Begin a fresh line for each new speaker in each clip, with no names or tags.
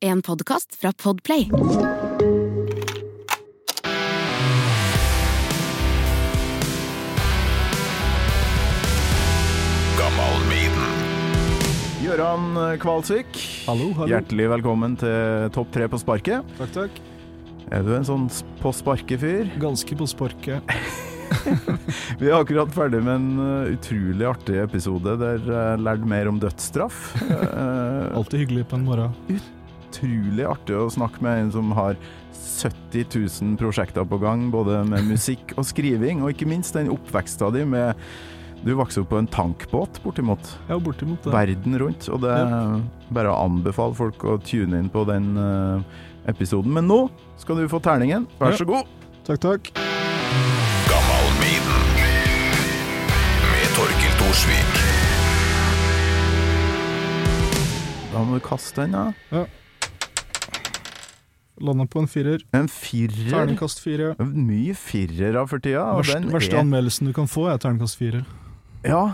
En podkast fra Podplay.
Gøran Kvalsvik,
Hallo, hallo.
hjertelig velkommen til Topp tre på sparket.
Takk, takk.
Er du en sånn s- på sparket-fyr?
Ganske på sparket.
Vi er akkurat ferdig med en uh, utrolig artig episode der jeg lærte mer om dødsstraff. Eh,
Alltid hyggelig på en morgen.
utrolig artig å snakke med en som har 70 000 prosjekter på gang, både med musikk og skriving, og ikke minst den oppveksta di med Du vokste opp på en tankbåt, bortimot.
Ja, bortimot det.
verden rundt. Og det er bare å anbefale folk å tune inn på den eh, episoden. Men nå skal du få terningen. Vær
Ja.
så god.
Takk, takk.
Da må du kaste den, ja.
Landa på en firer.
En firer.
Terningkast fire.
Mye firere for tida. Og
Verst,
den
verste
er,
anmeldelsen du kan få, er terningkast fire.
ja,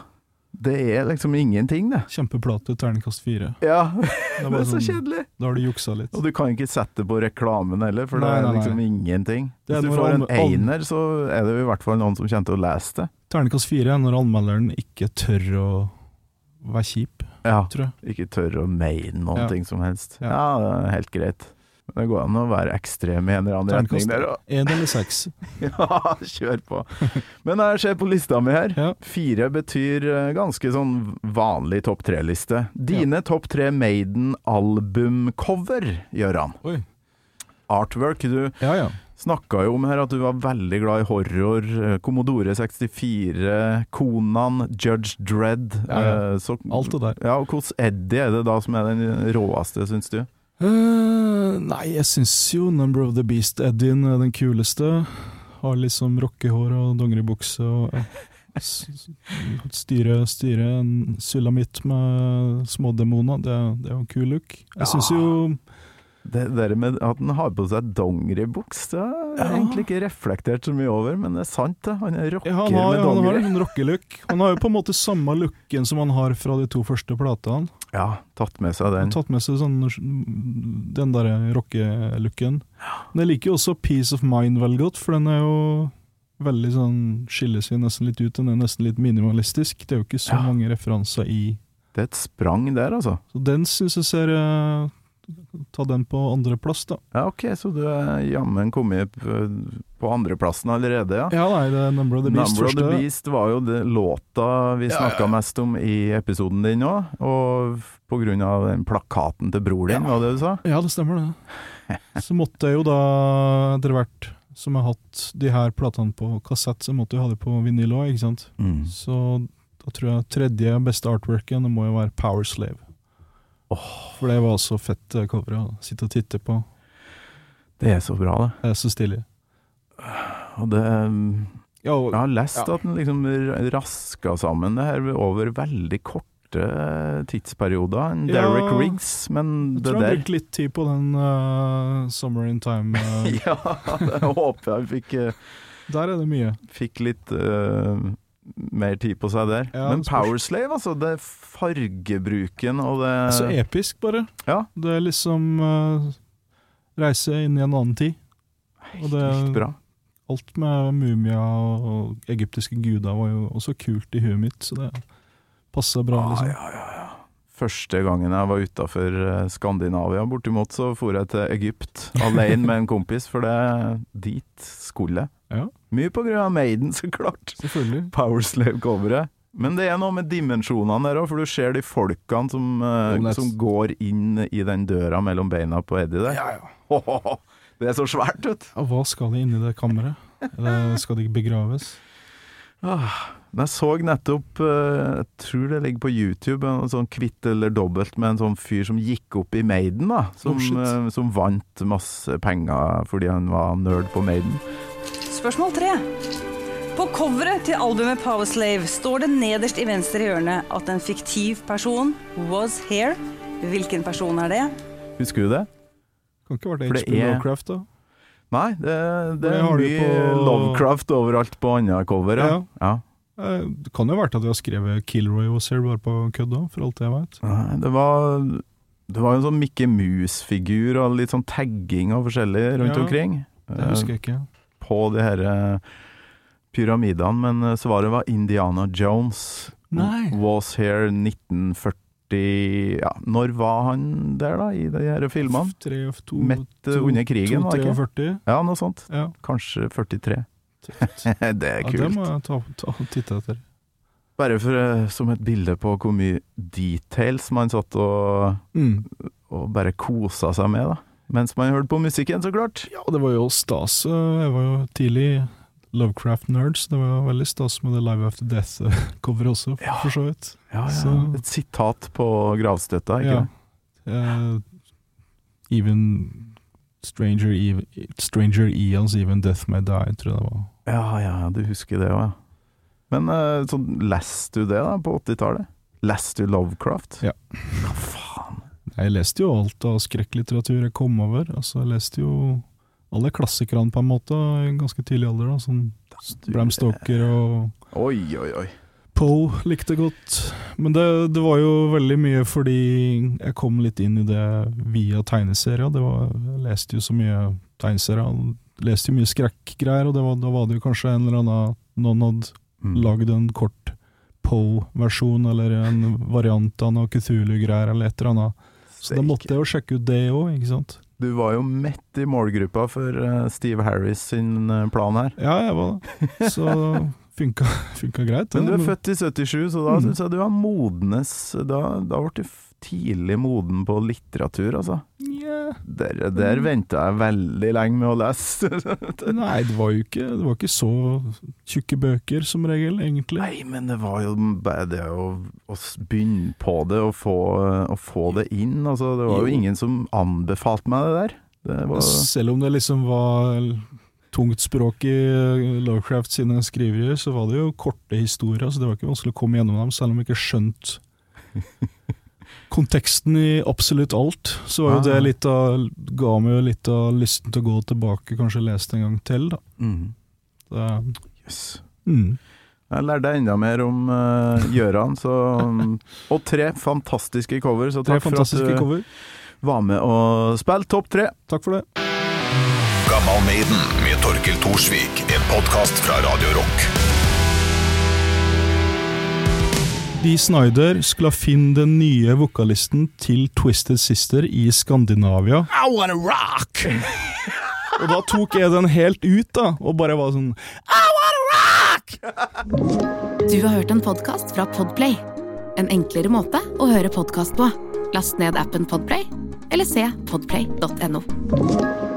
det er liksom ingenting, det.
Kjempeplate, terningkast fire.
Ja,
Det er
det
bare
er så
sånn,
kjedelig.
da har du juksa litt.
Og du kan ikke sette det på reklamen heller, for det
Nei, nei,
er
nei.
liksom ingenting.
Det er
Hvis du
når
får en
alle- alle-
einer, så er det jo i hvert fall noen som kommer til å lese det.
Terningkast fire er når anmelderen ikke tør å være kjip,
Ja.
tror jeg.
Ikke tør å mene noen
Ja.
ting som helst.
Ja.
Ja. det er helt greit. Men det går an å være ekstrem i en eller annen retning
Terningkast
der òg.
én eller seks.
Ja, kjør på. Men jeg ser på lista mi her.
Ja.
Fire betyr eh, ganske sånn vanlig topp tre-liste. Dine topp tre Maiden-albumcover, Gøran.
Oi.
Artwork. Du
Ja, ja.
snakka jo om her at du var veldig glad i horror. eh, Commodore 64, Konan, Judge Dredd.
Ja, ja.
eh, Så
Alt det der.
ja, og hvordan Eddie er det da som er den råeste, syns du?
Eh, nei, jeg syns jo Number of the Beast Eddien er den kuleste. Har liksom rockehår og dongeribukse og eh, s- s- styre, styre en sulamit med smådemoner. Det, det er jo en kul look. Jeg syns jo
Det der med at han har på seg dongeribuks, det har jeg
Ja.
egentlig ikke reflektert så mye over, men det er sant, det. Han er rocker
ja, han, har,
med
ja, han har
dongeri.
en rockelook. Han har jo på en måte samme looken som han har fra de to første platene.
Ja, tatt med seg
Han
den.
har tatt med seg sånn, den der rockelooken. Men jeg liker jo også Peace of Mind veldig godt, for den er jo veldig sånn Skiller seg nesten litt ut. Den er nesten litt minimalistisk. Det er jo ikke så
Ja.
mange referanser i.
Det er et sprang der, altså.
Så den syns jeg ser eh, Ta den på andreplass, da.
Ja, OK, så du er jammen kommet på på andreplassen allerede, ja.
Ja, nei, det er Number of the Beast.
Number of the
første.
Beast var jo det låta vi snakka mest om i episoden din nå, og f- på grunn av den plakaten til bror din, var det du sa?
Ja, det stemmer, det. Så måtte jeg jo da, etter hvert som jeg har hatt de her platene på kassett, så måtte jeg ha de på vinyl òg, ikke sant.
Mm.
Så da tror jeg tredje beste artworken det må jo være Power Slave. For det var så fett det coveret å sitte og titte på.
Det er så bra, det.
Det er så stilig.
Og det um,
Ja, og-
Jeg har lest at den liksom r- raska sammen det her over veldig korte tidsperioder. En
Ja,
Derek Riggs, men
jeg
det
tror han
der
brukte litt tid på den eh, Summer in Time. eh,
Ja, det håper jeg fikk, eh,
der er det mye.
fikk litt eh, mer tid på seg der.
Ja,
men
det spørs.
Powerslave, altså. Det er fargebruken og det
Så episk, bare.
Ja.
Det er liksom eh, reise inn i en annen tid. og det-
Helt bra.
Alt med mumia og egyptiske guder var jo også kult i huet mitt, så det passa bra,
Ah,
liksom.
ja, ja, ja. Første gangen jeg var utafor eh, Skandinavia, bortimot, så for jeg til Egypt alene med en kompis, for det dit skulle jeg.
Ja.
Mye på grunn av Maiden, så klart.
Selvfølgelig.
Powerslave-coveret. Men det er noe med dimensjonene der òg, for du ser de folkene som, eh,
Jo, men det-
som går inn i den døra mellom beina på Eddie der.
Ja, ja.
Åhåhå, Det er så svært, vet du.
Ja, hva skal de inn i det kammeret? Eller skal de begraves? Ah.
Men jeg så nettopp, eh, jeg tror det ligger på YouTube, en sånn kvitt eller dobbelt med en sånn fyr som gikk opp i Maiden, da. Som,
Oh, shit.
eh, som vant masse penger fordi han var nerd på Maiden.
Spørsmål tre. På coveret til albumet Powerslave står det nederst i venstre hjørne at en fiktiv person was here. Hvilken person er det?
Husker du det?
Kan ikke vært
For det
H.P.
er-
Lovecraft, da?
Nei, det, det
Det
er
har du
mye
på-
Lovecraft overalt på andre cover. Ja.
Ja.
ja.
Eh, Det kan jo ha vært at de har skrevet 'Kilroy was here' bare på kødd òg, for alt jeg veit.
Nei, det var Det var jo en sånn Mikke Mus-figur og litt sånn tagging og forskjellig rundt
Ja,
omkring.
Det husker jeg ikke.
Eh, På de her eh, pyramidene, men eh, svaret var Indiana Jones.
Nei.
Was here 1940 Ja, når var han der, da, i de her filmene?
Tre og to,
Mett eh, under krigen, var det ikke?
43.
Ja, noe sånt.
Ja.
Kanskje 43.
Tøft.
det er
Ja,
kult.
det må jeg ta, ta, titte etter.
Bare for, eh, som et bilde på hvor mye details man satt og,
Mm.
og bare kosa seg med, da. Mens man hørte på musikken, så klart.
Ja, det var jo stas. eh, Jeg var jo tidlig Lovecraft-nerds. Det var jo veldig stas med det Live After Death-coveret også, for,
Ja.
for så vidt.
Ja, ja.
Så-
Et sitat på gravstøtta, ikke
Ja.
det?
Eh, even Stranger, Eve, Stranger Eons, Even Death May Die, tror jeg det var.
Ja, ja, ja, du husker det òg, ja. Men eh, sånn, leste du det da, på 80-tallet? Leste du Lovecraft?
Ja.
Hva faen?
Jeg leste jo alt av skrekklitteratur jeg kom over. Altså, jeg leste jo alle klassikerne på en måte i ganske tidlig alder. da, sånn Bram Stoker og
Oi, oi, oi.
Poe likte jeg godt. Men det, det var jo veldig mye fordi jeg kom litt inn i det via tegneserier. Det var, jeg leste jo så mye tegneserier, og leste jo mye skrekkgreier, og det var, da var det jo kanskje en eller annen noen hadde
Mm.
lagd en kort Poe-versjon, eller en variant av noe Cthulhu-greier, eller et eller annet. Så da
Steik.
måtte jeg jo sjekke ut det òg, ikke sant?
Du var jo midt i målgruppa for eh, Steve Harris sin eh, plan her.
Ja, jeg var det. Så funka, funka greit.
Men du
det.
er født i 77, så da
Mm.
syns jeg du var modnes Da, da ble du f- tidlig moden på litteratur, altså.
Nja,
Der,
Mm.
der venta jeg veldig lenge med å lese.
Nei, det var jo ikke, det var ikke så tjukke bøker som regel, egentlig.
Nei, men det var jo bare det å, å s- begynne på det og få, å få det inn. Altså, det var jo
Jo.
ingen som anbefalte meg det der. Det var,
Selv om det liksom var tungt språk i eh, Lovecraft sine skriverier, så var det jo korte historier, så det var ikke vanskelig å komme gjennom dem, selv om jeg ikke skjønte konteksten i absolutt alt. Så var jo
Ja, ja.
det litt av, ga meg jo litt av lysten til å gå tilbake, kanskje lese det en gang til, da.
mm,
Det,
yes.
Mm.
Jeg lærte enda mer om uh, Gjøran, så um, Og tre fantastiske cover, så
Tre
takk for at eh,
fantastiske
du
cover.
var med og spilte Topp tre.
Takk for det.
Gammal Maiden med Torkel Thorsvik. En podkast fra Radio Rock.
Dee Snyder skulle finne den nye vokalisten til Twisted Sister i Skandinavia. I wanna rock! og da tok jeg den helt ut, da, og bare var sånn I wanna rock!
Du har hørt en podkast fra Podplay. En enklere måte å høre podkast på. Last ned appen Podplay, eller se podplay.no.